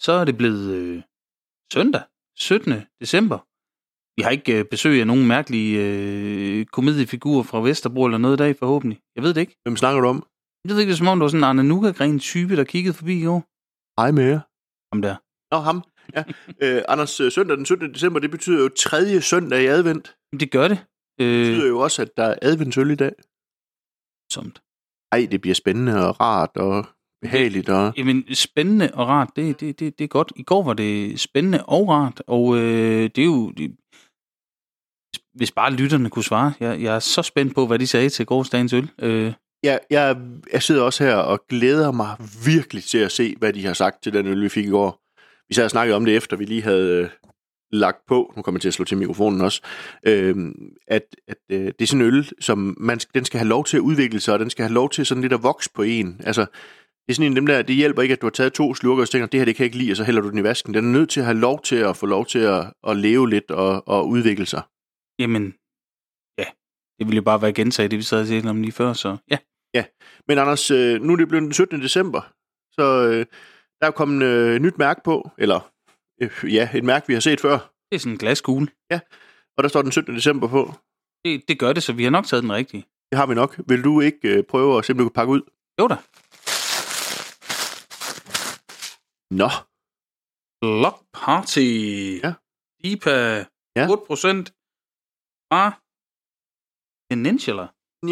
så er det blevet øh, søndag, 17. december. Vi har ikke øh, besøg af nogen mærkelige øh, komediefigurer fra Vesterbro eller noget i dag, forhåbentlig. Jeg ved det ikke. Hvem snakker du om? Jeg ved ikke, det er som om, det var sådan en Arne Nuka-gren type, der kiggede forbi i år. Hej med jer. Ham der. Nå, ham. Ja. Øh, Anders, øh, søndag den 17. december, det betyder jo tredje søndag i advent. Jamen, det gør det. Det Øh, betyder jo også, at der er adventsøl i dag. somt. Ej, det bliver spændende og rart og behageligt. Og... Jamen, spændende og rart, det, det, det, det er godt. I går var det spændende og rart, og øh, det er jo... Det, hvis bare lytterne kunne svare. Jeg, jeg er så spændt på, hvad de sagde til gårdsdagens øl. Øh, Jeg, jeg, jeg sidder også her og glæder mig virkelig til at se, hvad de har sagt til den øl, vi fik i går. Vi sad og snakkede om det, efter vi lige havde øh, lagt på. Nu kommer jeg til at slå til mikrofonen også. Øh, at at øh, det er sådan en øl, som man, den skal have lov til at udvikle sig, og den skal have lov til sådan lidt at vokse på en. Altså, det er sådan en af dem der, det hjælper ikke, at du har taget to slurker og så tænker, det her det kan jeg ikke lide, og så hælder du den i vasken. Den er nødt til at have lov til at få lov til at, at leve lidt og, og udvikle sig. jamen, ja. Det ville jo bare være gensag, det vi sad og talte om lige før, så ja. Men Anders, øh, nu er det blevet den 17. december, så øh, der er kommet øh, et nyt mærke på, eller øh, ja, et mærke, vi har set før, Det er sådan en glaskugle. og der står den 17. december på. Det, det gør det, så vi har nok taget den rigtige. Det har vi nok. Vil du ikke øh, prøve at se, om du kan pakke ud? Jo da. Nå, Block Party. Ja. IPA. Ja. 8% fra Peninsula.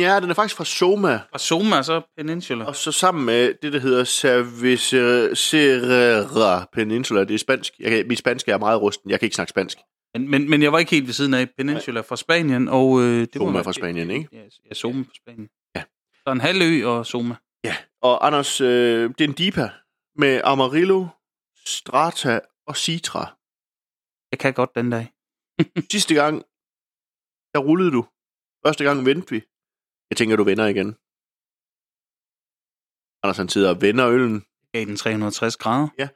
ja, den er faktisk fra Soma, Fra Soma, så Peninsula. og så sammen med det, der hedder Cervecera Peninsula. Det er spansk. Jeg kan, mit spansk er meget rusten. Jeg kan ikke snakke spansk. Men, men, men jeg var ikke helt ved siden af Peninsula fra Spanien, og... Øh, det Soma var, fra Spanien, ikke? Ja, ja Soma fra Spanien. Ja. Så en halv ø og Soma. Ja, og Anders, øh, det er en dipa med Amarillo, Strata og Citra. Jeg kan godt den dag. Sidste gang, der rullede du. Første gang vendte vi. Jeg tænker, du vender igen. Anders han sidder og vender øllen Jeg gav den 360 grader.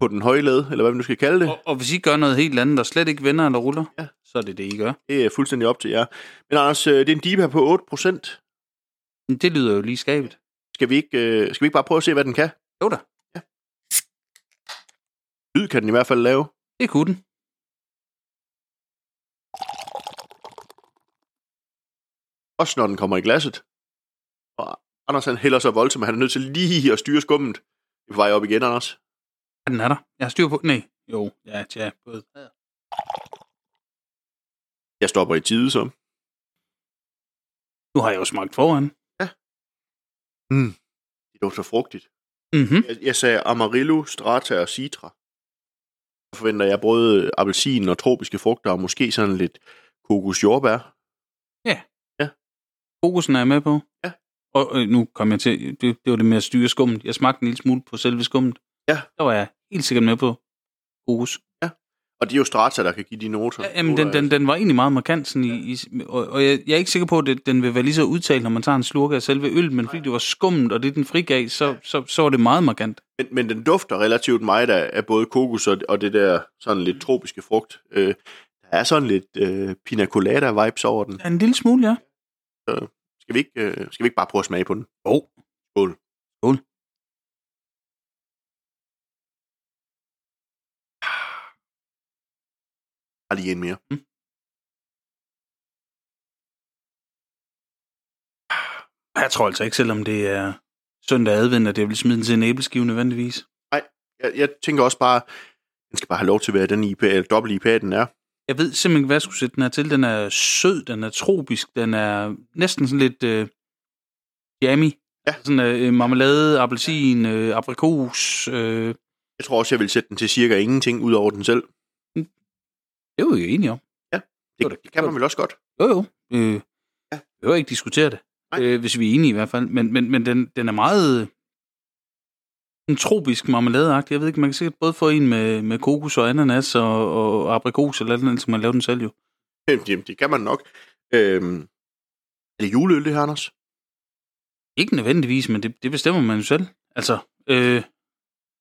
på den høje led, eller hvad man nu skal kalde det. Og, og hvis I gør noget helt andet, der slet ikke vender eller ruller, Ja. ja. så er det det, I gør. Det er fuldstændig op til jer. Men Anders, øh, det er en dipa på 8%. Men det lyder jo lige skabet. Skal vi, ikke, øh, skal vi ikke bare prøve at se, hvad den kan? Jo da. Lyd kan den i hvert fald lave. Det kunne den. Også når den kommer i glasset. Og Anders han hælder så voldsomt, at han er nødt til lige at styre skummet. Det er på vej op igen, Anders. Ja, den er der. Jeg har styr på... Nej. Jo, ja, tja. både. Jeg stopper i tide, så. Nu har jeg jo smagt foran. Det lugter frugtigt. Mhm. Jeg, jeg sagde Amarillo, Strata og Citra. Så forventer jeg både appelsin og tropiske frugter, og måske sådan lidt kokos jordbær. Fokusen er jeg med på. Ja. Og øh, nu kom jeg til... Det, det var det med at styre skummet. Jeg smagte en lille smule på selve skummet. Ja. Der var jeg helt sikkert med på fokus. Og det er jo Strata, der kan give de noter. Ja, jamen, den, den, den var egentlig meget markant, sådan i, i, og, og jeg, jeg er ikke sikker på, at det- den vil være lige så udtalt, når man tager en slurk af selve øl, men fordi det var skummet, og det den frigav, så, så, så var det meget markant. Men, men den dufter relativt meget af, af både kokos og, og det der sådan lidt tropiske frugt. Øh, der er sådan lidt øh, pina colada vibes over den. Ja, en lille smule, ja. Skal vi, ikke, øh, skal vi ikke bare prøve at smage på den? Jo. Skål. Skål. Bare lige en mere. Mm. Jeg tror altså ikke, selvom det er søndag advent, at det vil smide den til en æbleskive nødvendigvis. Jeg, jeg tænker også bare, den skal bare have lov til at være den IPA, eller dobbelt IPA, den er. Jeg ved simpelthen ikke, hvad jeg skulle sætte den her til. Den er sød, den er tropisk, den er næsten sådan lidt øh, jammy. Ja. Sådan øh, marmelade, appelsin, øh, aprikos. Øh, Jeg tror også, jeg vil sætte den til cirka ingenting, ud over den selv. det er vi jo enige om. Det var Det, da- det kan man vel også godt. Jo, jo. Øh, Ja. ja. Vi behøver ikke diskutere det, Nej. øh, hvis vi er enige i hvert fald. Men, men, men den, den er meget øh, en tropisk marmeladeagtig. Jeg ved ikke, man kan sikkert både få en med, med kokos og ananas og, og aprikos eller andet, som man laver den selv jo. Jamen, det kan man nok. Øhm, er det juleøl, det her, Anders? Ikke nødvendigvis, men det, det bestemmer man jo selv. Altså, øh,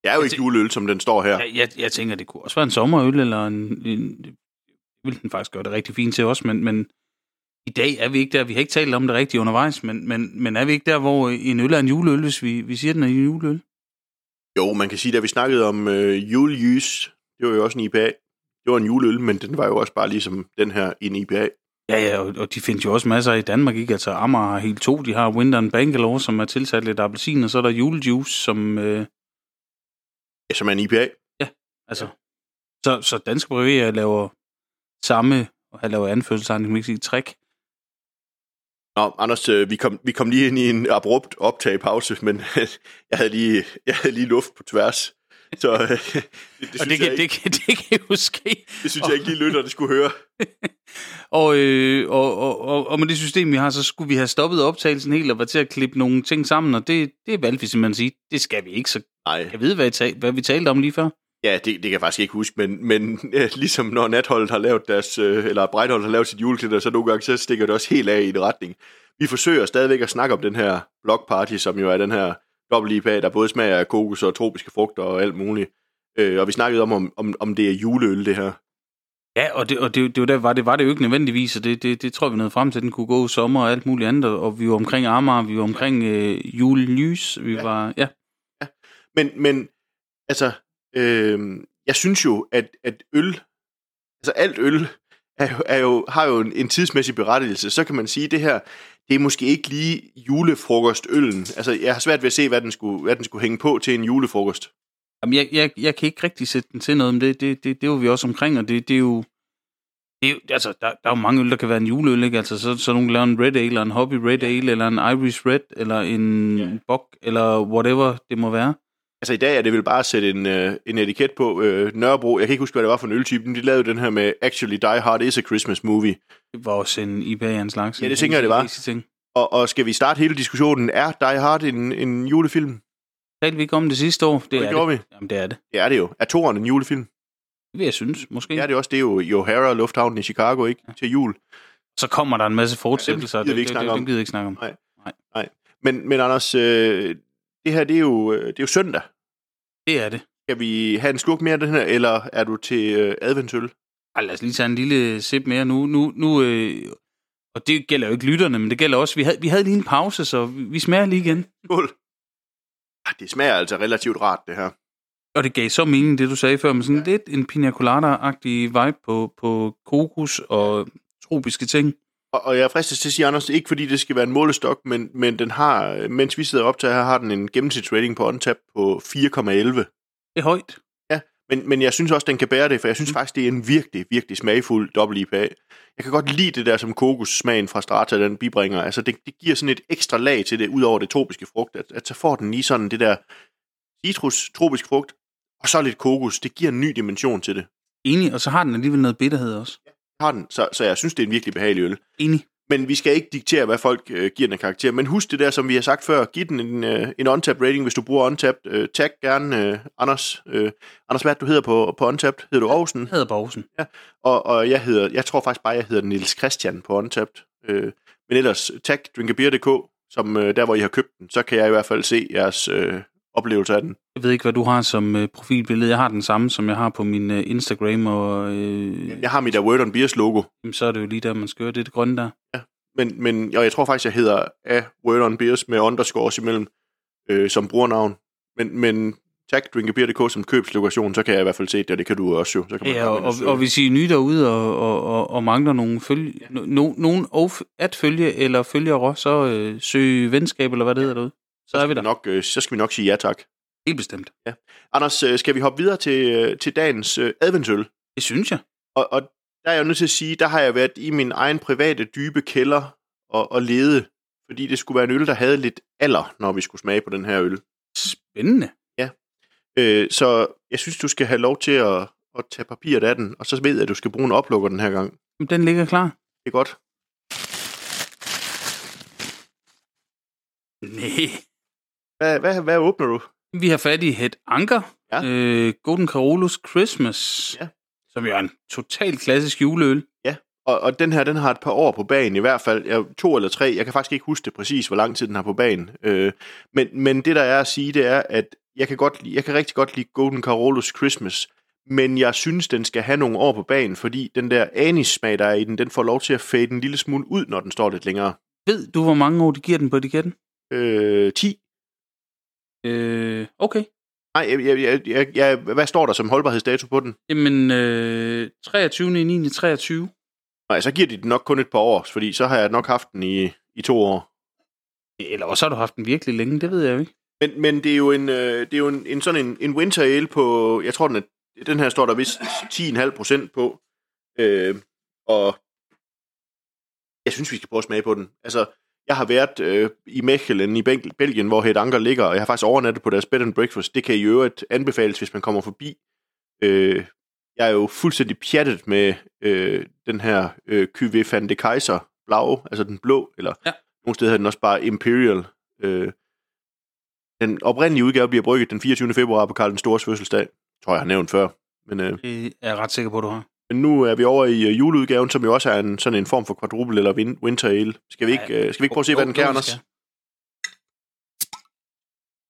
Det er jo Jeg ikke tæ- juleøl, som den står her. jeg, jeg, jeg tænker, det kunne også være en sommerøl eller en... en det ville den faktisk gøre det rigtig fint til os, men, men i dag er vi ikke der. Vi har ikke talt om det rigtigt undervejs, men, men, men er vi ikke der, hvor en øl er en juleøl, hvis vi, vi siger, den er en juleøl? Jo, man kan sige, da vi snakkede om øh, julejys, det var jo også en IPA. Det var en juleøl, men den var jo også bare ligesom den her en IPA. Ja, ja, og, og de findes jo også masser i Danmark, ikke? Altså, Amager har helt to. De har Winteren Bangalore, som er tilsat lidt appelsin, og så er der julejuice, som... Øh, Ja, som er en IPA. altså, så, så danske bryggerier laver samme, og han laver anførselstegn, kan man ikke sige, trick. Nå, Anders, øh, vi kom, vi kom lige ind i en abrupt optagepause, men jeg, havde lige, jeg havde lige luft på tværs. Så øh, det, det, synes Og det jeg kan, ikke, det, kan, det kan jo ske. det synes jeg ikke lige lytterne skulle høre. Og, øh, og, og, og, og med det system, vi har, så skulle vi have stoppet optagelsen helt og var til at klippe nogle ting sammen, og det, det valgte vi simpelthen at sige, det skal vi ikke, så Nej, jeg ved, hvad, I tal, hvad vi talte om lige før. ja, det, det kan jeg faktisk ikke huske, men, men øh, ligesom når Natholdet har lavet deres, øh, eller Breitholdt har lavet sit juleklæder, så nogle gange så stikker det også helt af i en retning. Vi forsøger stadigvæk at snakke om den her blockparty, som jo er den her dobbelt IPA, der både smager af kokos og tropiske frugter og alt muligt. Øh, og vi snakkede om, om, om, om det er juleøl, det her. Ja, og det, og det, det, var, der, var, det var det jo ikke nødvendigvis, og det, det, det tror jeg, vi nåede frem til, at den kunne gå i sommer og alt muligt andet, og vi var omkring Amager, vi var omkring øh, julelys, vi Ja. ja. var, ja, Men, men altså, øh, jeg synes jo, at, at øl, altså alt øl, er jo, er jo, har jo en, en tidsmæssig berettigelse. Så kan man sige, at det her, det er måske ikke lige julefrokostøllen. Altså, jeg har svært ved at se, hvad den skulle, hvad den skulle hænge på til en julefrokost. Jamen, jeg, jeg, jeg kan ikke rigtig sætte den til noget, men det, det, det, det var vi også omkring, og det, det er jo... Det er, jo- altså, der, der er jo mange øl, der kan være en juleøl, ikke? Altså, så, så nogen laver en Red Ale, eller en Hobby Red Ale, eller en Irish Red, eller en Ja. yeah. Bok, eller whatever det må være. Altså, i dag er det vel bare at sætte en, øh, en etiket på øh, Nørrebro. Jeg kan ikke huske, hvad det var for en øltype, men de lavede den her med Actually Die Hard is a Christmas Movie. Det var også en IPA af en slags. Ja, det tænker jeg, det var. En Ting. Og, og skal vi starte hele diskussionen, er Die Hard en, en julefilm? Talte vi ikke om det sidste år? Det, Det, det er gjorde det. vi. Jamen, det er det. Det er det jo. Er toren en julefilm? Det vil jeg synes, måske. Det er Ja, det... det også. Det er jo i O'Hara Lufthavnen i Chicago, ikke? Til jul. Så kommer der en masse fortsættelser, Ja, ja, dem gider det, det, det, vi ikke snakke det, om. det gider jeg ikke snakke om. Nej. Men, men Anders, øh, det her, det er, jo, øh, det er jo søndag. Det er det. Skal vi have en slurk mere af den her, eller er du til øh, adventsøl? Ej, lad os lige tage en lille sip mere nu. nu, nu øh, og det gælder jo ikke lytterne, men det gælder også. Vi havde, vi havde lige en pause, så vi, vi smager lige igen. Skål. Ah, Det smager altså relativt rart, det her. Og det gav så mening, det du sagde før, med sådan ja. lidt en pina colada-agtig vibe på, på kokos og tropiske ting. Og, og jeg er fristet til at sige, Anders, ikke fordi det skal være en målestok, men, men den har, øh, mens vi sidder og optager her, har den en gennemsnitsrating på OnTap på 4,11. Det er højt. Men, men jeg synes også, den kan bære det, for jeg synes mm. faktisk, det er en virkelig, virkelig smagfuld dobbelt IPA. Jeg kan godt lide det der, som kokossmagen fra Strata, den bibringer. Altså, det, det giver sådan et ekstra lag til det, ud over det tropiske frugt, at, at så får den lige sådan det der citrus, tropisk frugt, og så lidt kokos. Det giver en ny dimension til det. Enig, og så har den alligevel noget bitterhed også. Har den, så, så jeg synes, det er en virkelig behagelig øl. Enig. Men vi skal ikke diktere, hvad folk øh, giver den af karakter. Men husk det der, som vi har sagt før. Giv den en, øh, en untapped rating, hvis du bruger untapped. Øh, tag gerne øh, Anders. Øh, Anders, hvad er det, du hedder på, på untapped? Hedder du Aarhusen? Jeg hedder Borgsen. Og, og jeg, hedder, jeg tror faktisk bare, jeg hedder Nils Christian på Untapped. Øh, men ellers, tag drinkabeer.dk, som øh, der, hvor I har købt den, så kan jeg i hvert fald se jeres øh, oplevelse af den. Jeg ved ikke, hvad du har som øh, profilbillede. Jeg har den samme, som jeg har på min øh, Instagram, og øh, Jeg har mit der Word on Beers logo, jamen, så er det jo lige der, man skal høre. Det er det grønne der. men, men, og jeg tror faktisk, jeg hedder af Word on Beers med underscores imellem øh, som brugernavn. Men, men tag drinkabeer.dk som købslokation, så kan jeg i hvert fald se det, og det kan du også jo. Så kan man Ja, komme og, ind og, søge. og hvis I er nye derude og, og, og, og mangler nogen, følge, no, no, nogen of- at følge eller følgere, så øh, søg venskab eller hvad det hedder derude. Så er vi skal der. Nok, øh, så skal vi nok sige ja tak. Helt bestemt. Anders, øh, skal vi hoppe videre til, øh, til dagens øh, adventsøl? Det synes jeg. Og, og der er jeg jo nødt til at sige, der har jeg været i min egen private dybe kælder og, og lede, fordi det skulle være en øl, der havde lidt alder, når vi skulle smage på den her øl. Spændende. Øh, så jeg synes, du skal have lov til at, at tage papiret af den, og så ved jeg, at du skal bruge en oplukker den her gang. Jamen, Den ligger klar. Det er godt. Nej. Hvad, hvad, hvad åbner du? Vi har fat i Head Anker. Ja. Øh, Golden Carolus Christmas. Ja. Som jo er en totalt klassisk juleøl. Og, og den her, den har et par år på bagen i hvert fald. Jeg, to eller tre, jeg kan faktisk ikke huske det præcis, hvor lang tid den har på bagen. Øh, men, men det, der er at sige, det er, at jeg kan, godt, lide- jeg kan rigtig godt lide Golden Carolus Christmas, men jeg synes, den skal have nogle år på bagen, fordi den der anissmag, der er i den, den får lov til at fade en lille smule ud, når den står lidt længere. Ved du, hvor mange år de giver den på etiketten? Øh, 10. Øh, okay. Nej, jeg, jeg, jeg, jeg, jeg, hvad står der som holdbarhedsdato på den? Jamen, øh, 23. i 9. 23. Nej, så giver de den nok kun et par år, fordi så har jeg nok haft den i, i to år. Eller også har du haft den virkelig længe, det ved jeg jo ikke. Men, men det er jo en, øh, det er jo en, en sådan en, en winter ale på, jeg tror den, er, den her står der vist 10,5 procent på. Øh, og jeg synes, vi skal prøve at smage på den. Altså, jeg har været øh, i Mechelen i Bel- Belgien, hvor Het Anker ligger, og jeg har faktisk overnattet på deres bed and breakfast. Det kan i øvrigt anbefales, hvis man kommer forbi. Øh, jeg er jo fuldstændig pjattet med øh, den her øh, QV van de Kaiser blau, altså den blå, eller Ja. nogle steder hedder den også bare Imperial. Øh, den oprindelige udgave bliver brygget den 24. februar på Karl den Stores fødselsdag, tror jeg har nævnt før. Men, øh, Det er jeg ret sikker på, du har. men nu er vi over i øh, juleudgaven, som jo også er en, sådan en form for quadruple eller win- winter ale. Skal vi ikke, Ja. øh, skal vi ikke prøve at se, hvad den kan, Anders?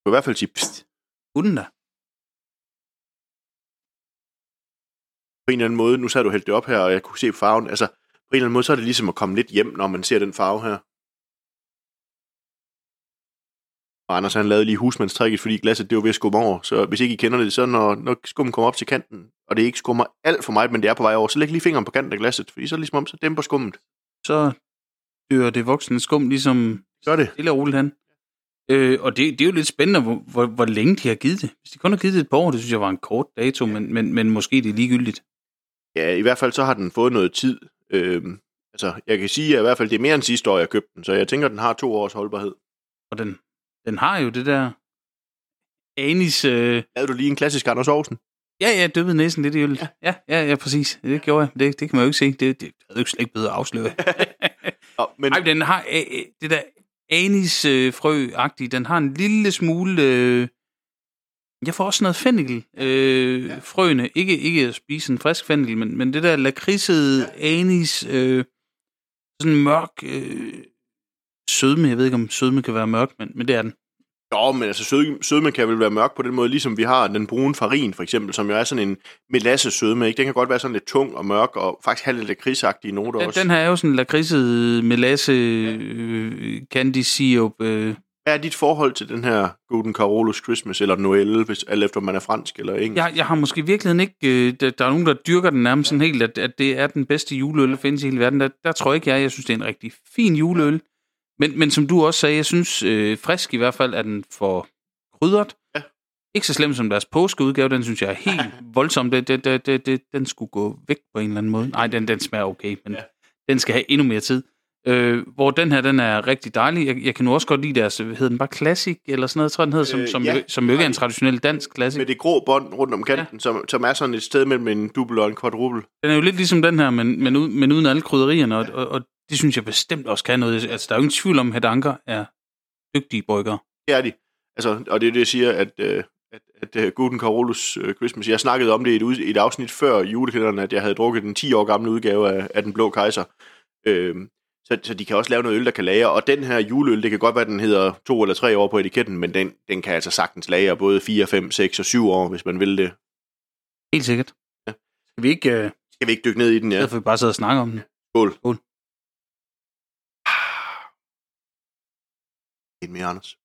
Du kan i hvert fald sige, pst, Hunden da. på en eller anden måde, nu sagde du hældt det op her, og jeg kunne se farven. Altså, på en eller anden måde, så er det ligesom at komme lidt hjem, når man ser den farve her. Og Anders, han lavede lige husmandstrækket, fordi glasset, det var ved at skumme over. Så hvis ikke I kender det, så når, når skummen kommer op til kanten, og det ikke skummer alt for meget, men det er på vej over, så læg lige fingeren på kanten af glasset, fordi så er det ligesom om, så dæmper skummet. Så dør det voksne skum ligesom Gør det. stille og roligt han. Øh, og det, det er jo lidt spændende, hvor, hvor, hvor længe de har givet det. Hvis de kun har givet det et par år, det synes jeg var en kort dato, men, men, men måske det er ligegyldigt. Ja, i hvert fald så har den fået noget tid. Øhm, altså, jeg kan sige, at i hvert fald det er mere end sidste år, jeg købte den, så jeg tænker, den har to års holdbarhed. Og den, den har jo det der anis... Øh, Lavede du lige en klassisk Anders Aarhusen? ja, ja, døbede næsen lidt i øl. Ja. ja, ja, ja, præcis. Det gjorde jeg. Det, det kan man jo ikke se. Det, det havde jo ikke slet ikke blevet afsløret. Nå, men... Nej, den har øh, øh, det der anisfrø-agtige, den har en lille smule... Øh, jeg får også noget fennikel, øh, ja. frøene. Ikke, ikke at spise en frisk fennikel, men, men det der lakridsede ja. anis, øh, sådan mørk øh, sødme. Jeg ved ikke, om sødme kan være mørk, men, men det er den. Jo, men altså sød, sødme kan vel være mørk på den måde, ligesom vi har den brune farin for eksempel, som jo er sådan en melasse sødme, ikke? Den kan godt være sådan lidt tung og mørk, og faktisk have lidt lakridsagtige noter Den, også. den her er jo sådan lakridset melasse, øh, candy sirup. Øh. Hvad er dit forhold til den her Golden Carolus Christmas, eller Noël, hvis, alt efter om man er fransk eller engelsk? Jeg, jeg har måske i virkeligheden ikke... Øh, der, der er nogen, der dyrker den nærmest sådan helt, at, at det er den bedste juleøl, der findes i hele verden. Der, der tror jeg ikke, jeg Jeg synes, det er en rigtig fin juleøl. Men, men som du også sagde, jeg synes øh, frisk i hvert fald, er den for krydret. Ja. Ikke så slem som deres påskeudgave, den synes jeg er helt voldsom. Det, det, det, det, det, den skulle gå væk på en eller anden måde. Nej, den, den smager okay, men Ja. ja. den skal have endnu mere tid. Øh, hvor den her, den er rigtig dejlig. Jeg, jeg kan nu også godt lide deres, hedder den bare Classic, eller sådan noget, jeg tror den hedder, som, Øh, som, ja. jo, som jo ikke er en traditionel dansk Classic. Med det grå bånd rundt om kanten, ja. som, som er sådan et sted mellem en dubbel og en kvadrubbel. Den er jo lidt ligesom den her, men, men, ud, men uden alle krydderierne, og, og, og det synes jeg bestemt også kan noget. Altså, der er jo ingen tvivl om, at Anker er dygtige brygger. Det er de. Altså, og det er det, jeg siger, at, øh, at, at øh, Golden Carolus øh, Christmas, jeg snakkede om det i et, ud, i et afsnit før julekalenderen, at jeg havde drukket den 10 år gamle udgave af, af Den Blå Kejser. Øhm, så, så de kan også lave noget øl, der kan lagre. Og den her juleøl, det kan godt være, den hedder to eller tre år på etiketten, men den, den kan altså sagtens lagre både 4, 5, 6 og 7 år, hvis man vil det. Helt sikkert. Ja. Skal vi ikke, øh, Skal vi ikke dykke ned i den, ja? ja. vi bare sidde og snakke om den? Skål. Skål. En mere, Anders.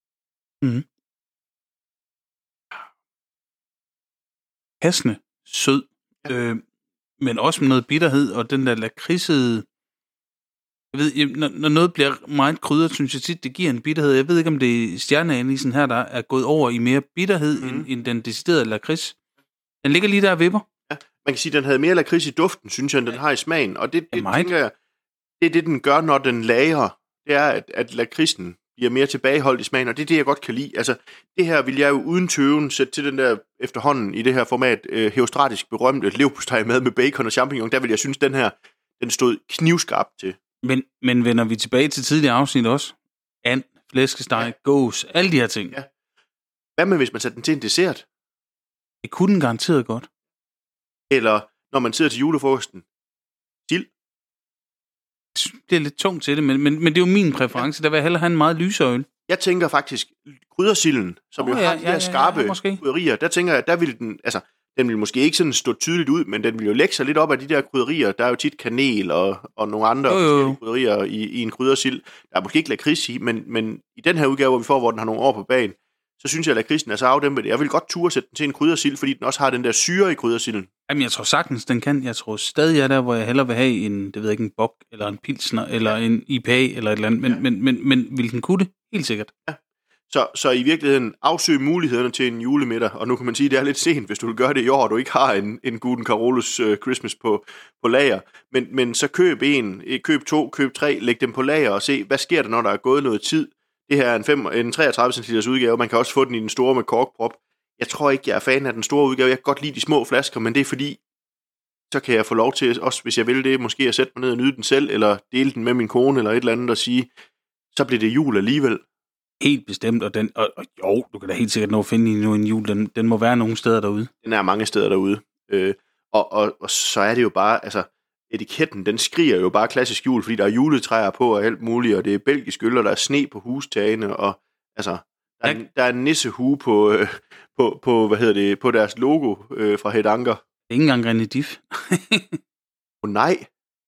Passende, sød, øh, men også med noget bitterhed, og den der lakridsede... Jeg ved, jeg- når, når noget bliver meget krydret, synes jeg tit, det giver en bitterhed. Jeg ved ikke, om det er stjerneanisen her, der er gået over i mere bitterhed, mm. Mhm. end, end den deciderede lakrids. Den ligger lige der og vipper. man kan sige, den havde mere lakrids i duften, synes jeg, end den har i smagen. Og det, det Ja, ja, meget. tænker jeg, det er det, den gør, når den lager. Det er, at, at lakridsen bliver mere tilbageholdt i smagen, og det er det, jeg godt kan lide. Altså, det her vil jeg jo uden tøven sætte til den der efterhånden i det her format øh, heostratisk berømte levpostej med med bacon og champignon. Der vil jeg synes, den her den stod knivskarp til. Men, men vender vi tilbage til tidligere afsnit også? And, flæskesteg, ja. gås, alle de her ting. Ja. Ja. Hvad med, hvis man satte den til en dessert? Det kunne den garanteret godt. Eller når man sidder til julefrokosten? Jeg synes, Det er lidt tungt til det, men, men, men det er jo min præference. Der vil jeg hellere have en meget lysere øl. Jeg tænker faktisk, kryddersilden, som oh, jo ja, har de ja, der ja, skarpe ja, ja, måske. krydderier, der tænker jeg, der vil den, altså, den vil måske ikke sådan stå tydeligt ud, men den vil jo lægge sig lidt op af de der krydderier. Der er jo tit kanel og, og nogle andre Jo, jo, jo. forskellige krydderier i, i en kryddersild. Der er måske ikke lakrids i, men, men i den her udgave, hvor vi får, hvor den har nogle år på bagen, så synes jeg, at lakridsen er så afdæmpet. Jeg vil godt turde sætte den til en kryddersild, fordi den også har den der syre i kryddersilden. Jamen, jeg tror sagtens, den kan. Jeg tror stadig, jeg er der, hvor jeg hellere vil have en, det ved jeg ikke, en bok, eller en pilsner, eller en IPA, eller et eller andet. Men, Ja. ja. men, men, men, vil den kunne det? Helt sikkert. Så, så i virkeligheden afsøg mulighederne til en julemiddag, og nu kan man sige, at det er lidt sent, hvis du vil gøre det i år, og du ikke har en, en Guden Carolus øh, Christmas på, på lager. Men, men så køb en, øh, køb to, køb tre, læg dem på lager og se, hvad sker der, når der er gået noget tid. Det her er en, fem, en 33 cm udgave, man kan også få den i den store med korkprop. Jeg tror ikke, jeg er fan af den store udgave. Jeg kan godt lide de små flasker, men det er fordi, så kan jeg få lov til, også hvis jeg vil det, måske at sætte mig ned og nyde den selv, eller dele den med min kone eller et eller andet og sige, så bliver det jul alligevel. Helt bestemt, og, den, og, og jo, du kan da helt sikkert nå at finde en, en jul. Den, den må være nogle steder derude. den er mange steder derude. Øh, og, og, og så er det jo bare, altså, etiketten, den skriger jo bare klassisk jul, fordi der er juletræer på og alt muligt, og det er belgisk øl, og der er sne på hustagene, og altså, der er, Ja. en- der er en nissehue på, øh, på, på, hvad hedder det, på deres logo øh, fra Hedanker. Det er ikke engang Renediff. Åh oh, nej,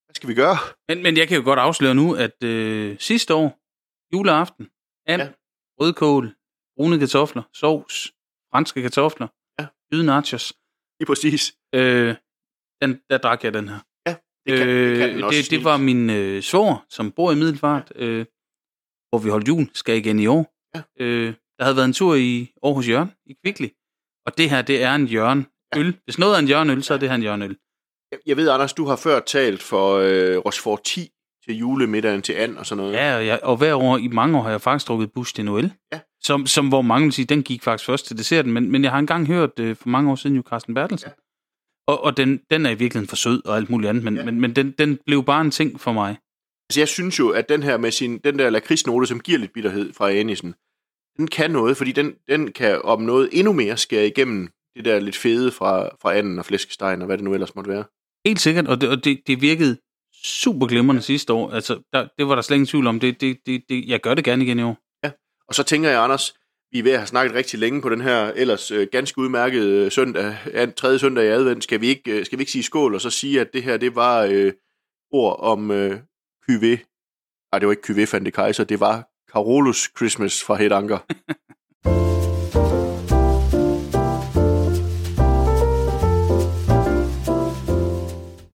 hvad skal vi gøre? Men, men jeg kan jo godt afsløre nu, at øh, sidste år, juleaften, and, Ja. ja. rødkål, brune kartofler, sovs, franske kartofler, Ja. hvide nachos, Lige præcis. øh, den, der drak jeg den her. Det kan, øh, det, kan den også det, det snildt. var min øh, svor, som bor i Middelfart, øh, hvor vi holdt jul, skal igen i år. Ja. Øh, der havde været en tur i Aarhus Jørgen, i Kvickly. Og det her, det er en Jørgen øl. Hvis noget er en Jørgen øl, så er det her en Jørgen øl. Jeg- Jeg ved, Anders, du har før talt for øh, Rochefort 10 til julemiddagen til and og sådan noget. Ja, og, jeg, og hver år, i mange år har jeg faktisk drukket Bush de Noël. Ja. Som, som hvor mange vil sige, den gik faktisk først til desserten, men, men jeg har engang hørt øh, for mange år siden jo Carsten Bertelsen. Ja. Ja. Og, og den, den er i virkeligheden for sød og alt muligt andet, men, Ja. ja. men, men den, den blev bare en ting for mig. Altså, jeg synes jo, at den her med sin, den der lakridsnote, som giver lidt bitterhed fra Anisen, den kan noget, fordi den, den kan om noget endnu mere skære igennem det der lidt fede fra, fra anden og flæskestegen og hvad det nu ellers måtte være. Helt sikkert, og det, og det, det virkede super glimrende sidste år. Altså, der, det var der slet ingen tvivl om. Det, det, det, det, jeg gør det gerne igen i år. Og så tænker jeg, Anders, vi er ved at have snakket rigtig længe på den her ellers øh, ganske udmærkede øh, søndag, an, tredje søndag i advent. Skal vi, ikke, øh, skal vi ikke sige skål og så sige, at det her, det var øh, ord om øh, QV. Nej, det var ikke QV, fandt det kejser. Det var Carolus Christmas fra Hedanker.